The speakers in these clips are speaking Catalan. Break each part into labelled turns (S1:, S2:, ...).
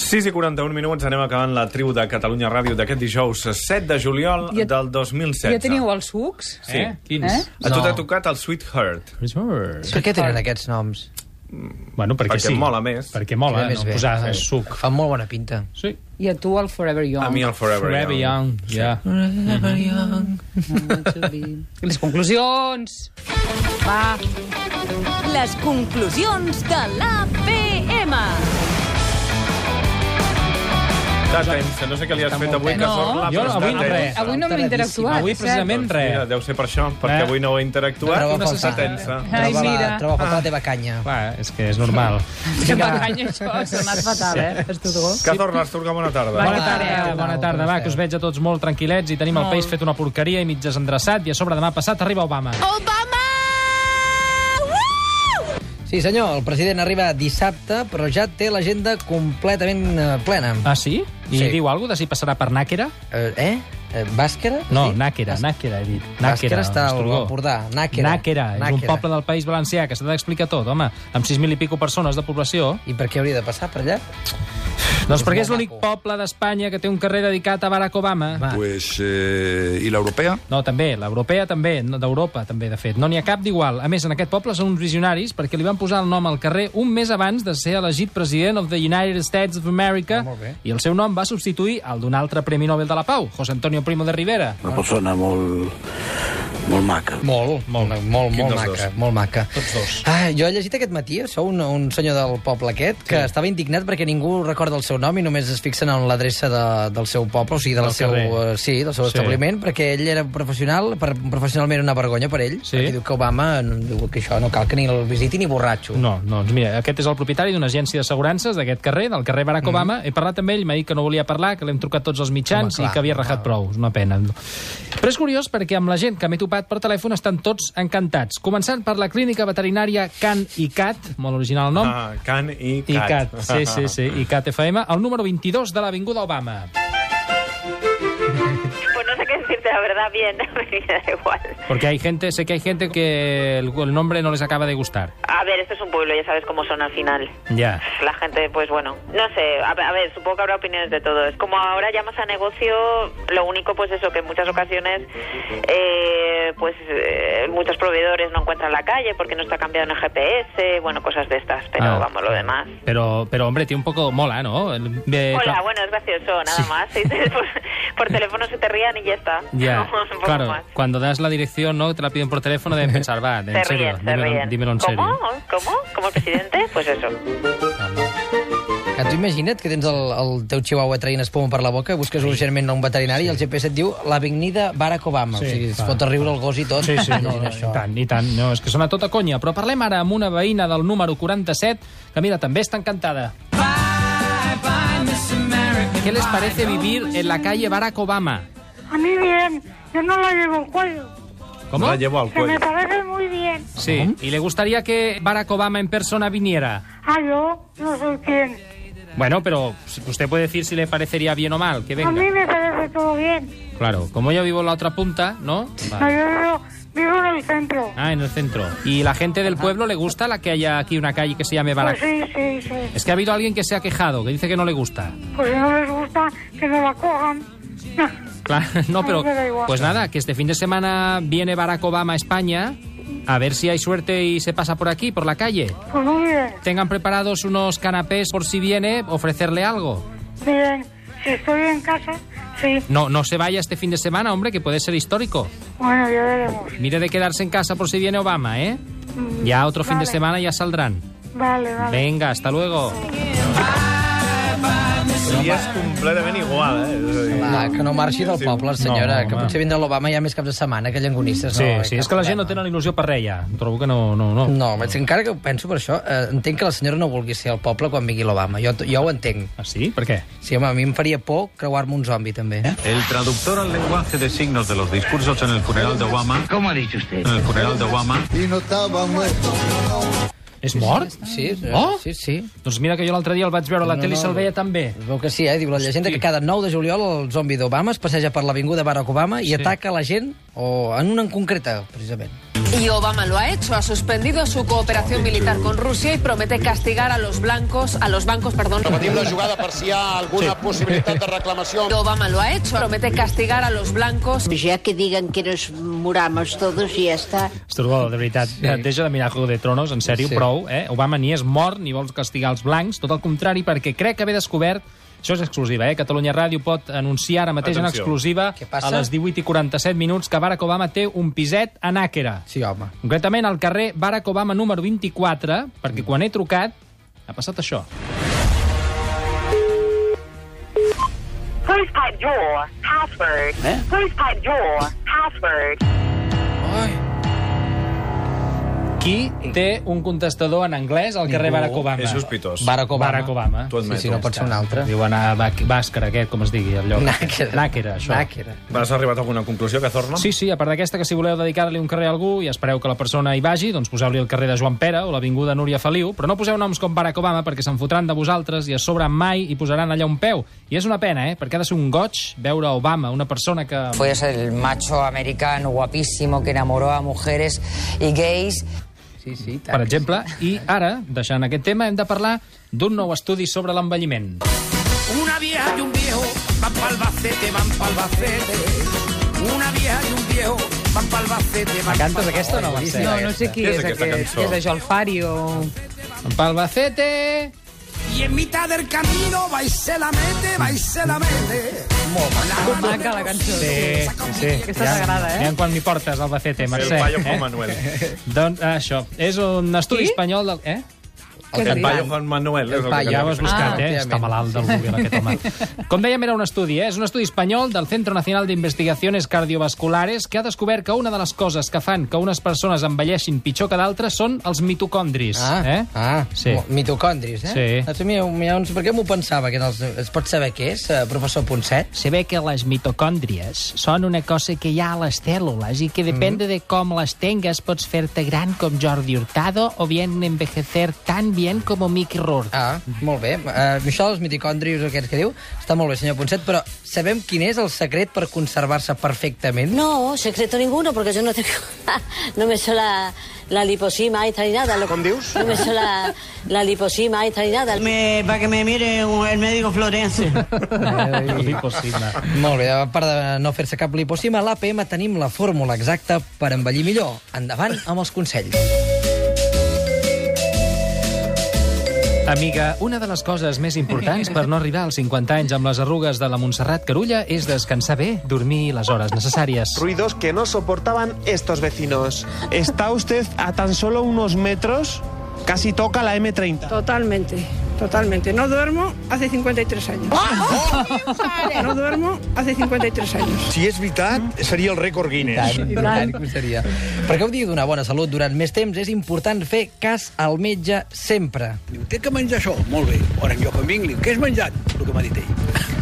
S1: 6 i 41 minuts, anem acabant la tribu de Catalunya Ràdio d'aquest dijous 7 de juliol
S2: Ja-
S1: del 2016.
S2: Ja teniu els sucs?
S1: Sí.
S3: Eh? Quins?
S2: Eh?
S1: A tu
S4: No.
S1: t'ha tocat el Sweetheart.
S3: Christmas.
S4: Per què tenen aquests noms?
S3: Bueno, perquè,
S1: Perquè
S3: sí.
S1: mola més.
S3: Perquè mola,
S4: Queda
S3: no?
S4: més bé.
S3: Posar
S4: Sí.
S3: suc.
S4: Fan molt bona pinta.
S3: Sí.
S2: I a tu el Forever Young.
S1: A mi el Forever,
S3: Forever young. Yeah.
S4: Forever young.
S2: I want to be- Les conclusions. Va,
S5: Les conclusions de l'APM.
S1: T'ha temps, que no sé què li has fet avui,
S2: bé.
S1: que
S2: No.
S1: sort l'ha,
S3: Jo
S1: però
S3: avui
S1: està
S3: no
S1: temps.
S3: res.
S2: avui no m'he interactuat.
S3: Avui
S2: és cert?
S3: precisament
S1: Doncs mira,
S3: res.
S1: deu ser per això, perquè
S3: Eh?
S1: avui no he interactuat.
S4: Trobo
S1: Una
S4: a
S1: sensació
S4: faltar.
S1: tensa.
S2: Ai,
S4: troba,
S2: mira.
S4: la, troba a faltar
S3: Ah.
S4: la teva canya.
S3: Clar, és que és normal.
S2: Que m'enganya això, s'ha anat fatal, eh? Estudó.
S1: Cazor, Rasturga, bona tarda.
S2: Bona
S3: Bona
S2: tarda.
S3: tarda, bona tarda. Va, que us veig a tots molt tranquil·lets i tenim el país fet una porqueria i mig desendreçat i a sobre demà passat arriba Obama.
S5: Obama! Woo!
S4: Sí, senyor, el president arriba dissabte, però ja té l'agenda completament eh, plena.
S3: Ah, sí? I
S4: Sí.
S3: diu alguna cosa de si passarà per Nàquera?
S4: Eh, eh? eh Bàsquera?
S3: No,
S4: Sí?
S3: Nàquera,
S4: Bàs-
S3: Nàquera, he dit.
S4: Bàsquera està al
S3: Estrugó.
S4: Empordà. Nàquera.
S3: Nàquera, és un
S4: Nàquera.
S3: poble del País Valencià que s'ha d'explicar tot, home. Amb 6.000 i pico persones de població.
S4: I per què hauria de passar per allà?
S3: Doncs perquè és
S4: molt
S3: l'únic
S4: maco.
S3: poble d'Espanya que té un carrer dedicat a Barack Obama.
S6: Ah.
S4: Va.
S7: Pues, eh, ¿Y la europea?
S3: No, també, l'europea també, no, d'Europa també, de fet. No n'hi ha cap d'igual. A més, en aquest poble són uns visionaris perquè li van posar el nom al carrer un mes abans de ser elegit president of the United States of America
S4: Ah, molt bé.
S3: i el seu nom va substituir el d'un altre Premi Nobel de la Pau, José Antonio Primo de Rivera.
S8: una persona molt, molt maca.
S4: Molt, molt, molt,
S1: Quin
S4: molt
S1: dels
S4: maca,
S1: dos?
S4: molt maca.
S3: Tots dos.
S4: Ah, jo he llegit aquest matí, sou un, un senyor del poble aquest, que estava indignat perquè ningú recorda el seu nom i només es fixen en l'adreça de, del seu poble, o sigui, del,
S3: Del
S4: seu,
S3: carrer.
S4: eh, sí, del seu
S3: Sí.
S4: establiment, perquè ell era professional, per, professionalment era una vergonya per ell,
S3: Sí.
S4: perquè diu que Obama no, diu que això no cal que ni el visiti ni borratxo.
S3: No, no, doncs mira, aquest és el propietari d'una agència d'assegurances d'aquest carrer, del carrer Barack Obama. He parlat amb ell, m'ha dit que no volia parlar, que l'hem trucat tots els mitjans
S4: Home,
S3: i
S4: clar,
S3: que havia rajat prou. És una pena. Però és curiós perquè amb la gent que m'he topat per telèfon estan tots encantats. Començant per la clínica veterinària Can i Cat, molt original el nom,
S1: Ah, Can i Cat.
S3: I Cat, sí, sí, sí, i Cat FM, el número 22 de l'Avinguda Obama.
S9: Pues no sé qué decirte, la verdad, bien, me da igual.
S3: Porque hay gente, sé que hay gente que el, el nombre no les acaba de gustar.
S9: A ver, esto es un pueblo, ya sabes cómo son al final.
S3: Ya.
S9: La gente, pues bueno, no sé, a, a ver, supongo que habrá opiniones de todos. Como ahora llamas a negocio, lo único pues eso, que en muchas ocasiones eh, pues eh, muchos proveedores no encuentran la calle porque no está cambiado en el GPS, bueno, cosas de estas, pero
S3: Ah.
S9: vamos, lo demás.
S3: Pero, pero hombre, tiene un poco mola, ¿no? El- eh, de-
S9: Hola,
S3: cla-
S9: bueno, es gracioso, nada más. Sí, sí, por, por teléfono se te rían y ya está.
S3: Ya,
S9: Un poco
S3: claro,
S9: más.
S3: cuando das la dirección, ¿no? Te la piden por teléfono, deben pensar, va, en
S9: Se
S3: serio,
S9: ríen, se
S3: dímelo,
S9: ríen.
S3: dímelo en serio.
S9: ¿Cómo? ¿Cómo? ¿Como el presidente? Pues eso.
S4: Que tu imagina't que tens el, el teu chihuahua traient espuma per la boca, busques urgentment un veterinari sí. i el GPS et diu l'avenida Barack Obama.
S3: Sí,
S4: Sí, o sigui, es
S3: clar.
S4: fot a riure el gos i tot.
S3: Sí, sí, no,
S4: llegint
S3: no,
S4: això.
S3: i tant, i tant. No, és que sona tota conya, però parlem ara amb una veïna del número 47, que mira, també està encantada. ¿Qué les parece vivir en la calle Barack Obama?
S10: A mí bien, yo no la llevo en cuello.
S3: ¿Cómo?
S1: La llevo al
S10: Que me
S1: cuello.
S10: parece muy bien.
S3: Sí, y le gustaría que Barack Obama en persona viniera.
S10: Ah, yo no soy quien.
S3: Bueno, pero usted puede decir si le parecería bien o mal que
S10: A mí
S3: venga.
S10: me parece todo bien.
S3: Claro, como yo vivo en la otra punta, ¿no?
S10: No,
S3: Vale.
S10: yo vivo, vivo en el centro.
S3: Ah, en el centro. ¿Y la gente del pueblo le gusta la que haya aquí una calle que se llame
S10: Pues
S3: Barack?
S10: sí, sí, sí.
S3: Es que ha habido alguien que se ha quejado, que dice que no le gusta.
S10: Pues si no les gusta, que no la cojan.
S3: Claro, no, pero
S10: Me da igual.
S3: pues nada, que este fin de semana viene Barack Obama a España, a ver si hay suerte y se pasa por aquí, por la calle.
S10: Pues muy bien.
S3: Tengan preparados unos canapés por si viene, ofrecerle algo.
S10: Bien, si estoy en casa, sí.
S3: No, no se vaya este fin de semana, hombre, que puede ser histórico.
S10: Bueno, ya veremos.
S3: Mire de quedarse en casa por si viene Obama, ¿eh?
S10: Mm,
S3: Ya otro fin de
S10: vale,
S3: semana ya saldrán.
S10: Vale, vale.
S3: Venga, hasta luego.
S1: I és completament igual, eh? És a dir,
S4: Va, que no marxi del
S1: Sí.
S4: poble, senyora,
S3: No,
S4: que
S3: home.
S4: potser vindrà l'Obama ja més caps de setmana, que Mm. llangonistes.
S3: Sí,
S4: no,
S3: sí, és que la gent no tenen il·lusió per res ja. Trobo que no, no, no.
S4: No, veig que encara que ho penso per això, eh, entenc que la senyora no vulgui ser al poble quan vingui l'Obama. Jo, jo ho entenc.
S3: Ah, sí? Per què?
S4: Sí, home, a mi em faria por creuar-me un zombi, també. Eh?
S11: El traductor al lenguaje de signos de los discursos en el funeral de Obama. ¿Cómo ha dicho usted?
S3: Eh,
S11: En el funeral de Obama.
S3: És mort?
S4: Sí, sí,
S3: Oh?
S4: sí, sí.
S3: Doncs mira que jo l'altre dia el vaig veure a la
S4: No,
S3: tele i
S4: no,
S3: se'l
S4: no.
S3: veia tan bé.
S4: Es veu que sí, eh? Diu la llegenda que cada 9 de juliol el zombi d'Obama es passeja per l'avinguda Barack Obama i ataca la gent, o en una en concreta, precisament.
S12: Y Obama lo ha hecho, ha suspendido su cooperación militar con Rusia y promete castigar a los blancos, a los bancos, perdón.
S13: Repetim la jugada per si hi ha alguna sí. possibilitat de reclamació.
S12: Obama lo ha hecho, promete castigar a los blancos.
S14: Ya que digan que nos muramos todos y ya está.
S3: Estorbol, de veritat, sí. deixa de mirar Juego de Tronos, en sèrio,
S14: Sí.
S3: sí. prou. Eh? Obama ni és mort ni vols castigar els blancs, tot el contrari, perquè crec haver descobert això és exclusiva, eh? Catalunya Ràdio pot anunciar ara mateix en
S4: Atenció.
S3: exclusiva
S4: Què passa?
S3: a les 18 i 47 minuts que Barack Obama té un piset a Nàquera.
S4: Sí, home.
S3: Concretament al carrer Barack Obama número 24, perquè quan he trucat ha passat això.
S15: Please type your password.
S3: ¿Eh?
S15: Please type your password.
S3: Qui té un contestador en anglès al carrer
S4: Ningú.
S3: Barack Obama?
S4: És sospitós. Barack Obama.
S3: Barack Obama.
S4: T'ho admeto. Sí, sí, no pot ser un altre.
S3: Diuen a Bàscara, aquest, com es digui, el lloc.
S4: Nàquera.
S3: Nàquera, això.
S4: Nàquera.
S1: Has arribat a alguna conclusió, Cazorla?
S3: Sí, sí, a part d'aquesta, que si voleu dedicar-li un carrer a algú i espereu que la persona hi vagi, doncs poseu-li el carrer de Joan Pere o l'avinguda Núria Feliu, però no poseu noms com Barack Obama perquè se'n fotran de vosaltres i a sobre mai hi posaran allà un peu. I és una pena, eh? Perquè ha de ser un goig veure Obama, una persona que...
S16: Fue ese el macho americano guapísimo que enamoró a mujeres y gays.
S4: Sí, sí,
S3: per exemple. I ara, deixant aquest tema, hem de parlar d'un nou estudi sobre l'envelliment.
S17: Una vieja y un viejo van pa'l Albacete, van pa'l Albacete. Una vieja y un viejo van pa'l Albacete, van
S3: Cantes
S17: pa'l
S3: aquesta o no, Mercè?
S2: No, no sé qui és, aquest. És de Jolfari o...
S3: Palbacete.
S17: Y en mitad del camino va y se la mete, va y se la mete.
S2: Com maca la cançó.
S3: Sí, sí.
S2: Aquesta t'agrada, eh?
S3: Anem quan m'hi portes, Albacete, Mercè.
S1: el paio
S3: eh?
S1: Juan Manuel.
S3: doncs ah, això, és un estudi espanyol... Del, eh?
S1: El que paio Juan Manuel. és el que
S3: ja ho
S1: canta.
S4: Ah,
S3: has buscat, eh? Està malalt del Google, aquest home. Com dèiem, era un estudi, eh? És un estudi espanyol del Centro Nacional d'Investigaciones Cardiovasculares que ha descobert que una de les coses que fan que unes persones envelleixin pitjor que d'altres són els mitocondris.
S4: Ah,
S3: eh?
S4: ah
S3: Sí.
S4: mo- mitocondris, eh?
S3: Sí.
S4: Saps, mira, mira, doncs, per què m'ho pensava? Que en els, es pot saber què és, eh, professor Ponset?
S3: Se ve que les mitocòndries són una cosa que hi ha a les cèl·lules i que depèn mm -hmm. de com les tengues pots fer-te gran com Jordi Hurtado o bien envejecer tan bien com Mickey Rourke.
S4: Ah, molt bé. Uh, això dels mitocondrius aquests que diu, està molt bé, senyor Ponset, però sabem quin és el secret per conservar-se perfectament?
S14: No, secreto ninguno, porque yo no tengo... no me sé la, la liposima esta ni nada. ¿Con Dios? No me sé la, la liposima esta ni nada.
S18: para que me mire el médico Florencio.
S3: Liposima.
S4: Molt bé, a part de no fer-se cap liposima, a l'APM tenim la fórmula exacta per envellir millor. Endavant amb els consells.
S3: Amiga, una de les coses més importants per no arribar als 50 anys amb les arrugues de la Montserrat Carulla és descansar bé, dormir les hores necessàries.
S19: Ruidos que no soportaban estos vecinos. Está usted a tan solo unos metros, casi toca la M30.
S20: Totalmente, totalmente. No duermo hace 53 años. No duermo hace 53 años.
S4: Si és veritat, seria el rècord Guinness. I tant, i tant que ho seria. Per gaudir d'una bona salut durant més temps, és important fer cas al metge sempre.
S8: Diu, té que menjar això, molt bé. Ara jo quan vinc, li dic, què has menjat? El que m'ha dit ell.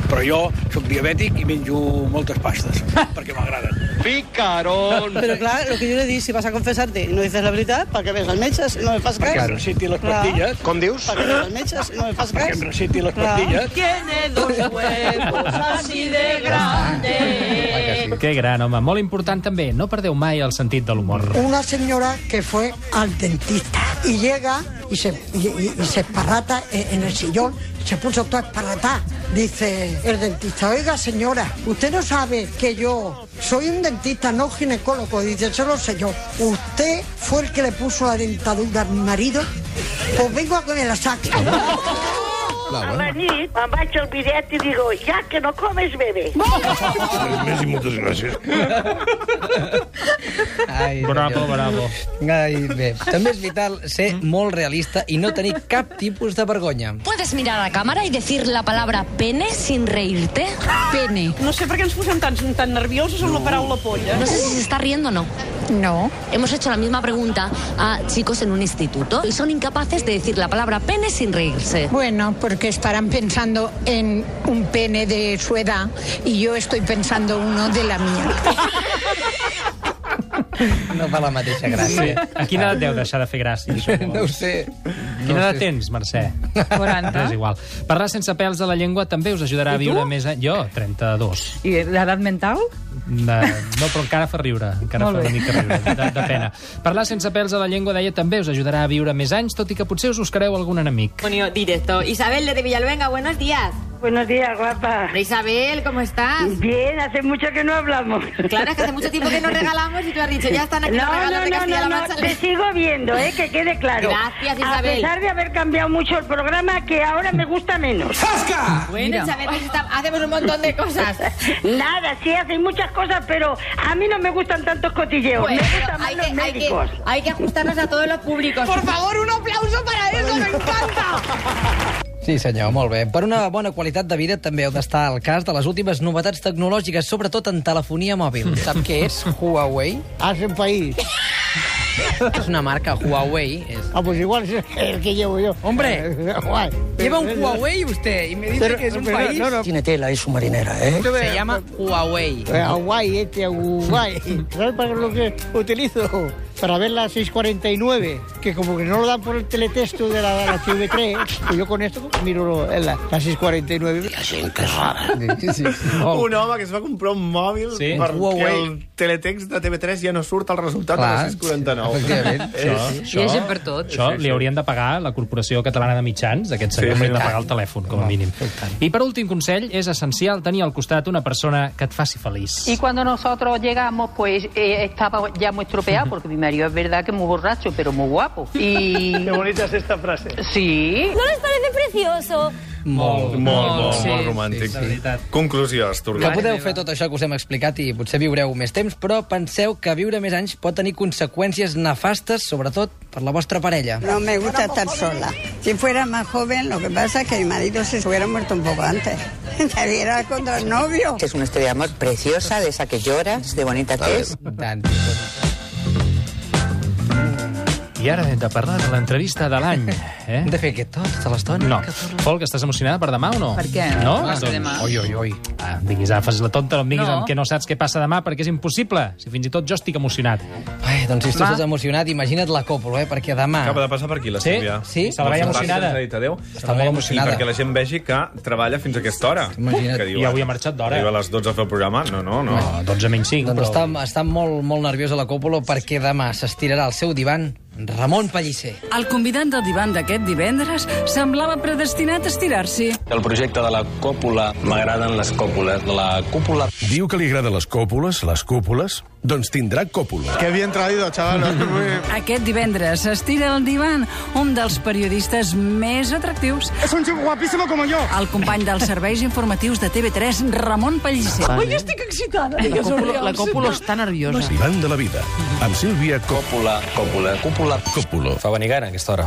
S8: Però jo sóc diabètic i menjo moltes pastes, perquè m'agraden. Picarón!
S18: Pero claro, lo que yo le di, si vas a confesarte y no dices la verdad, para que veas al mechas, no me fas
S8: Perquè
S18: caso.
S8: em reciti les
S18: Clar.
S8: pastilles. Com dius?
S18: Para que veas al mechas, no me fas
S8: Perquè
S18: caso.
S8: em reciti les
S18: Clar.
S8: pastilles.
S18: Tiene dos huevos así de grande.
S3: Que gran, home. Molt important, també. No perdeu mai el sentit de l'humor.
S21: Una señora que fue al dentista y llega y se, y, y- y se esparrata e, en en el sillón, se puso toda esparratada. Dice el dentista, oiga señora, usted no sabe que yo soy un dentista, no ginecólogo. Dice, eso lo sé yo. ¿Usted fue el que le puso la dentadura a mi marido? Pues vengo a que me la saque.
S22: A la nit em vaig al bidet i digo, ja que no comes bebé.
S6: Més i moltes gràcies.
S4: Ai,
S3: Bravo,
S4: senyor.
S3: bravo.
S4: Ai, bé. També és vital ser
S3: Mm.
S4: molt realista i no tenir cap tipus de vergonya.
S5: ¿Puedes mirar a cámara y decir la palabra pene sin reírte? Pene.
S20: No sé per què ens posem tan, tan nerviosos amb la paraula polla.
S5: No sé si se está riendo o no. No. Hemos hecho la misma pregunta a chicos en un instituto y son incapaces de decir la palabra pene sin reírse.
S23: Bueno, porque estarán pensando en un pene de su edad y yo estoy pensando uno de la mía.
S4: No fa la mateixa gràcia.
S3: Sí. A quina edat deu deixar de fer gràcies?
S4: No ho sé.
S3: Quina edat tens, Mercè? 40. No és igual. Parlar sense pèls a la llengua també us ajudarà a
S7: I tu?
S3: viure més... a- Jo, 32.
S7: I l'edat mental?
S3: De... No, però encara fa riure. Encara
S7: Molt
S3: fa
S7: bé.
S3: una mica riure. De, de pena. Parlar sense pèls a la llengua, deia, també us ajudarà a viure més anys, tot i que potser us buscareu algun enemic.
S9: Bueno, directo. Isabel de Villalbenga, buenos días. Buenos días, guapa. Isabel, ¿cómo estás? Bien, hace mucho que no hablamos. Claro, es Ah, que hace mucho tiempo que no regalamos y tú has dicho, ya están aquí los
S22: No,
S9: regalos
S22: no,
S9: de
S22: no, no,
S9: Castilla-La
S22: no,
S9: Mancha. Pues,
S22: te sigo viendo, eh, que quede claro.
S9: Gracias,
S22: A
S9: Isabel.
S22: pesar de haber cambiado mucho el programa, que ahora me gusta menos. Ah,
S9: Bueno, Isabel, pues está- hacemos un montón de cosas.
S22: Nada, sí, hacen muchas cosas, pero a mí no me gustan tantos cotilleos.
S9: Bueno,
S22: me gustan más
S9: hay,
S22: los
S9: que, hay, que,
S22: médicos.
S9: hay que ajustarnos a todos los públicos.
S22: Por favor,
S9: un aplauso para eso, me encanta.
S4: Sí, senyor, molt bé. Per una bona qualitat de vida també heu d'estar al cas de les últimes novetats tecnològiques, sobretot en telefonia mòbil. Sap què és Huawei? Ah, és un país. És una marca, Huawei. És...
S10: Ah, pues igual es el que llevo yo.
S4: Hombre, lleva un Huawei usted y me dice
S10: Pero-
S4: que es un
S10: pero
S4: país.
S10: no, no.
S4: Tiene tela, es submarinera,
S10: ¿eh?
S4: Se llama Huawei.
S10: Eh, Hawaii, este, Hawaii. ¿Sabes para lo que utilizo? Para ver la 649, que como que no lo dan por el teletexto de la, la TV3, pues yo con esto miro lo- en la, la 649. La gente rara.
S1: Ah,
S4: Oh.
S1: Un home que es va comprar un mòbil
S10: Sí.
S1: sí. perquè
S10: Huawei.
S1: el teletext de TV3 ja no surt el resultat
S3: Clar,
S1: de la 649.
S3: efectivament. Això, això- Hi ha gent per
S7: tot.
S3: Això li haurien de pagar la Corporació Catalana de Mitjans, aquest senyor sí,
S1: Sí, sí.
S3: haurien de pagar el telèfon, com a mínim. I per últim consell, és essencial tenir al costat una persona que et faci feliç.
S7: Y cuando nosotros llegamos, pues eh, estaba ya muy estropeado, porque mi marido es verdad que es muy borracho, pero muy guapo. Y... Qué bonita es esta frase. Sí.
S14: ¿No les parece precioso?
S1: Molt, molt, molt,
S4: Sí,
S1: molt romàntic.
S4: sí, sí.
S1: Sí, sí. Conclusió, Esturgó.
S4: Que podeu fer tot això que us hem explicat i potser viureu més temps, però penseu que viure més anys pot tenir conseqüències nefastes, sobretot per la vostra parella.
S24: No me gusta estar sola. Si fuera más joven, lo que pasa es que mi marido se hubiera muerto un poco antes. Me hubiera contra el novio.
S25: Es una historia de amor preciosa, de esa que lloras, de bonita que es.
S4: doncs,
S3: I ara hem de parlar de l'entrevista de l'any. Eh? Hem
S4: de fer aquest tot, tota l'estona.
S3: No. Folk, estàs emocionada per demà o no?
S7: Per què?
S3: No?
S7: Ah, demà.
S3: Oi, oi, oi. Ah, em diguis, ara fas la tonta, no em diguis
S4: No.
S3: no. que no saps què passa demà, perquè és impossible. Si fins i tot jo estic emocionat.
S4: Ai, doncs si tu estàs emocionat, imagina't la Còpolo, eh? perquè demà...
S1: Acaba de passar per aquí, la
S4: Sí?
S1: Sílvia.
S4: Sí? Se la veia emocionada.
S1: S'ha dit adéu.
S4: Està molt
S1: I
S4: emocionada.
S1: perquè la gent vegi que treballa fins a aquesta hora.
S4: Imagina't.
S1: Que diuen,
S4: I avui ha marxat d'hora.
S1: Arriba a les 12 a fer el programa? No, no, no.
S3: no 12 Oh, menys 5,
S4: Doncs està, està molt, molt nerviosa la Còpolo perquè demà s'estirarà al seu divan Ramon Pellicer.
S26: El convidat del divan d'aquest divendres semblava predestinat a estirar-s'hi.
S27: El projecte de la còpula, m'agraden les còpules. La cúpula...
S6: Diu que li agraden les còpules, les cúpules, doncs tindrà còpula.
S25: Qué bien traído, chaval.
S26: Aquest divendres s'estira al divan un dels periodistes més atractius. És un xic guapíssimo com jo. El company dels serveis informatius de TV3, Ramon Pellicer.
S25: Vale. Ai,
S26: estic excitada.
S25: La còpula- la còpula
S26: està nerviosa.
S6: L'Ivan de la vida, amb Sílvia Còpula. Còpula, còpula, còpula.
S27: Fa venir gana, aquesta hora.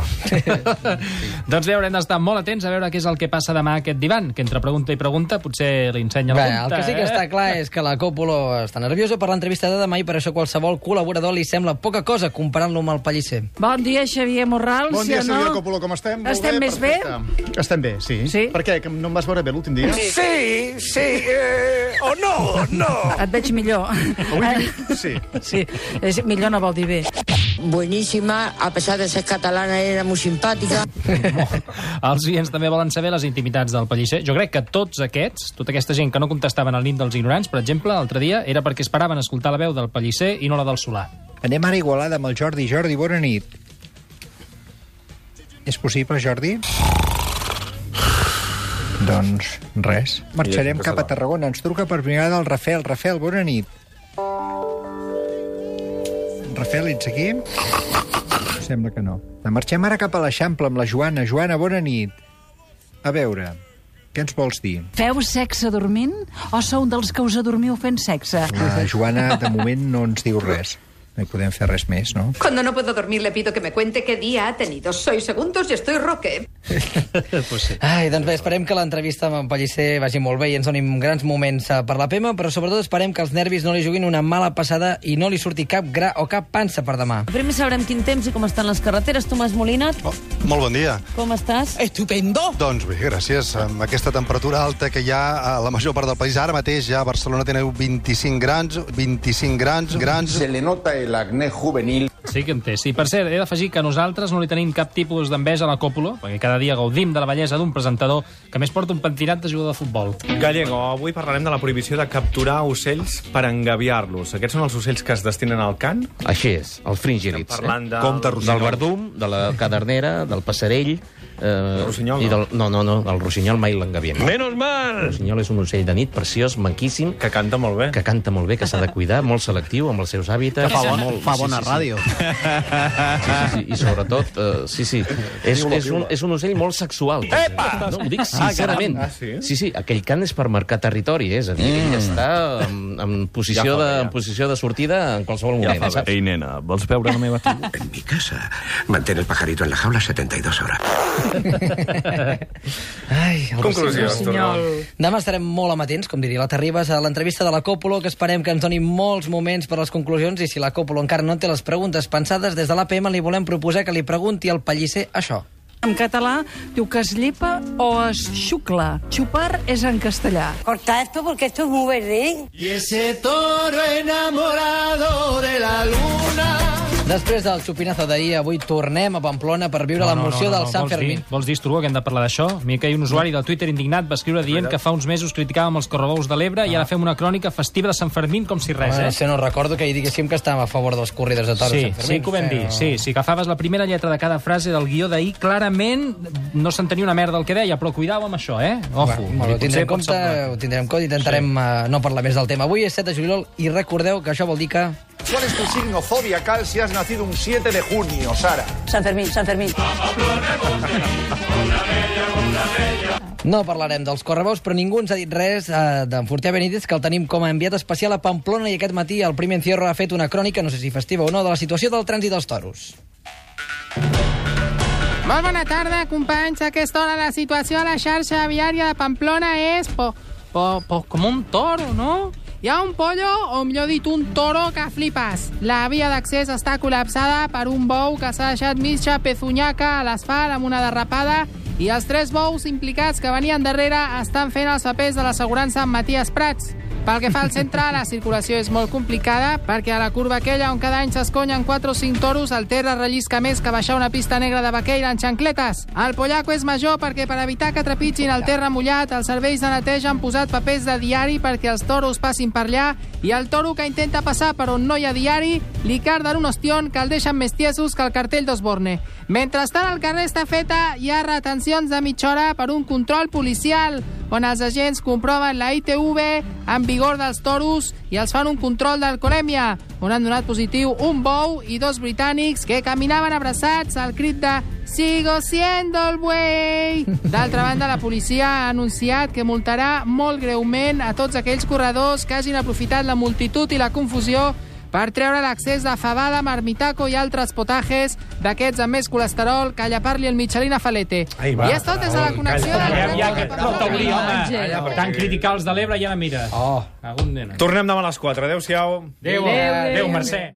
S3: Doncs bé, haurem d'estar molt atents a veure què és el que passa demà a aquest divan, que entre pregunta i pregunta potser li ensenya la
S4: Bé,
S3: punta.
S4: el que sí que
S3: eh?
S4: està clar és que la Còpolo està nerviosa per l'entrevista de demà i per això qualsevol col·laborador li sembla poca cosa comparant-lo amb el Pellicer.
S26: Bon dia, Xavier Morral.
S28: Bon dia,
S26: sí o no?
S28: Sílvia Coppola, com estem? Molt
S26: Estem més bé?
S28: perfecte. Estem bé, sí. sí. Per què? Que no em vas veure bé l'últim dia?
S26: Sí, sí, eh, o no, no. Et veig millor. Eh?
S28: Sí.
S26: Sí, és, millor no vol dir bé.
S25: Buenísima, a pesar de ser catalana, era muy simpática.
S3: Els oients també volen saber les intimitats del Pellicer. Jo crec que tots aquests, tota aquesta gent que no contestaven al l'himne dels ignorants, per exemple, l'altre dia, era perquè esperaven escoltar la veu del Pellicer i no la del Solà.
S27: Anem ara a Igualada amb el Jordi. Jordi, bona nit. És possible, Jordi? Doncs res. Marxarem cap a Tarragona. Ens truca per primera vegada el Rafel. Rafel, bona nit. Rafel, ets aquí? Sembla que no. Marxem ara cap a l'Eixample amb la Joana. Joana, bona nit. A veure, què ens vols dir?
S26: Feu sexe dormint o sou dels que us adormiu fent sexe?
S27: La Joana, de moment, no ens diu res. No hi podem fer res més, no?
S28: Cuando no puedo dormir le pido que me cuente qué día ha tenido. Soy segundos y estoy roque.
S4: pues sí. Ai, doncs bé, esperem que l'entrevista amb en Pellicer vagi molt bé i ens donin grans moments eh, per la Pema, però sobretot esperem que els nervis no li juguin una mala passada i no li surti cap gra o cap pansa per demà.
S25: Primer sabrem quin temps i com estan les carreteres. Tomàs Molina,
S29: Oh, Molt bon dia.
S25: com estàs?
S29: Estupendo. Doncs bé, gràcies. Amb aquesta temperatura alta que hi ha a la major part del país, ara mateix ja a Barcelona teniu 25 grans, 25 grans, grans... Se le nota
S2: el acné juvenil.
S3: Sí que en té, sí. Per cert, he d'afegir que nosaltres no li tenim cap tipus d'enveja a la còpula, perquè cada dia gaudim de la bellesa d'un presentador que a més porta un pentinat de jugador de futbol.
S1: Gallego, avui parlarem de la prohibició de capturar ocells per engaviar-los. Aquests són els ocells que es destinen al cant?
S8: Així és, els fringílids.
S1: Estem parlant del- Comte
S8: Compte
S1: Rossinyol.
S8: Del verdum, de la cadernera, del passarell... Eh, rossinyol, i del, no. No, no, el rossinyol mai l'engavien. Menos mal! eh? El rossinyol és un ocell de nit preciós, manquíssim.
S1: Que canta molt bé.
S8: Que canta molt bé, que s'ha de cuidar, molt selectiu, amb els seus hàbitats.
S11: Que fa bona-
S8: molt,
S11: fa bona ràdio.
S8: Sí,
S11: Ah,
S8: sí, sí, i sobretot, eh, sí, sí, és,
S11: Piula,
S8: és, un, és un ocell molt sexual. Epa! No, ho dic sincerament.
S11: Ah, sí?
S8: Sí, sí, aquell cant és per marcar territori, eh? és a dir, mm. ell està en, en, posició
S11: Ja fa
S8: de,
S11: bé, ja.
S8: en posició de sortida en qualsevol
S11: Ja
S8: moment. eh,
S11: fa bé.
S8: Ei, nena, vols veure la meva filla?
S2: En mi casa mantén el pajarito en la jaula 72 horas.
S4: Ai, el
S2: Conclusió,
S4: Rossinyol.
S2: Arturo.
S4: Demà estarem molt amatents, com diria la Terribas, a l'entrevista de la Còpolo, que esperem que ens doni molts moments per a les conclusions i si la Còpolo encara no té les preguntes pensades, des de l'APM li volem proposar que li pregunti al Pellicer això.
S26: En català diu que es llepa o es xucla. Xupar és en castellà.
S14: Corta esto porque esto es muy verde.
S2: Y ese toro enamorado de la luna.
S4: Després del xupinazo d'ahir, avui tornem a Pamplona per viure
S3: No, no,
S4: l'emoció
S3: no, no,
S4: del
S3: no,
S4: Sant
S3: vols
S4: Fermín.
S3: Dir, vols dir, Estruga, que hem de parlar d'això? Mira que hi ha un usuari de Twitter indignat va escriure dient que fa uns mesos criticàvem els correbous de l'Ebre
S4: Ah.
S3: i ara fem una crònica festiva de Sant Fermín com si res,
S4: Home,
S3: eh?
S4: no sé, no recordo que hi diguéssim que estàvem a favor dels corridors de toros.
S3: Sí,
S4: Sant Fermín.
S3: sí que ho vam dir. Sí, si agafaves la primera lletra de cada frase del guió d'ahir, clarament no s'entenia una merda el que deia, però cuidao amb això, eh? Ojo.
S4: Bueno, ho tindrem en compte, ho tindrem en compte i intentarem sí. no parlar més del tema. Avui és 7 de juliol i recordeu que això vol dir que...
S2: ¿Cuál es tu signo zodiacal si has nacido un 7 de junio, Sara?
S14: San Fermín, San Fermín.
S4: No parlarem dels correbous, però ningú ens ha dit res eh, d'en Fortià Benítez, que el tenim com a enviat especial a Pamplona i aquest matí el primer encierro ha fet una crònica, no sé si festiva o no, de la situació del trànsit dels toros.
S8: Molt bona tarda, companys. A aquesta hora la situació a la xarxa viària de Pamplona és po, po, po, com un toro, no? Hi ha un pollo, o millor dit, un toro que flipes. La via d'accés està col·lapsada per un bou que s'ha deixat mitja pezunyaca a l'asfalt amb una derrapada i els tres bous implicats que venien darrere estan fent els papers de l'assegurança amb Matías Prats. Pel que fa al centre, la circulació és molt complicada perquè a la curva aquella on cada any s'esconyen 4 o 5 toros, el terra rellisca més que baixar una pista negra de vaqueira en xancletes. El pollaco és major perquè per evitar que trepitgin el terra mullat, els serveis de neteja han posat papers de diari perquè els toros passin per allà i el toro que intenta passar per on no hi ha diari li carden un ostión que el deixen més tiesos que el cartell d'Osborne. Mentrestant, al carrer Estafeta hi ha retencions de mitja hora per un control policial on els agents comproven la ITV en vigor dels toros i els fan un control d'alcoholèmia, on han donat positiu un bou i dos britànics que caminaven abraçats al crit de «Sigo siendo el buey!». D'altra banda, la policia ha anunciat que multarà molt greument a tots aquells corredors que hagin aprofitat la multitud i la confusió per treure l'accés de fabada, marmitaco i altres potajes d'aquests amb més colesterol que llepar-li el Michelin a Falete.
S3: Ai, va.
S8: I és tot des de la connexió... del
S3: Calla, ja,
S8: tren
S3: que
S8: de
S3: no t'hauria, home.
S8: Àngel.
S3: Tant criticar els de l'Ebre, ja la mira. Oh. Algun nen.
S1: Tornem demà a les 4. Adéu-siau.
S3: eh, Adéu, Adéu, adéu, adéu, Mercè.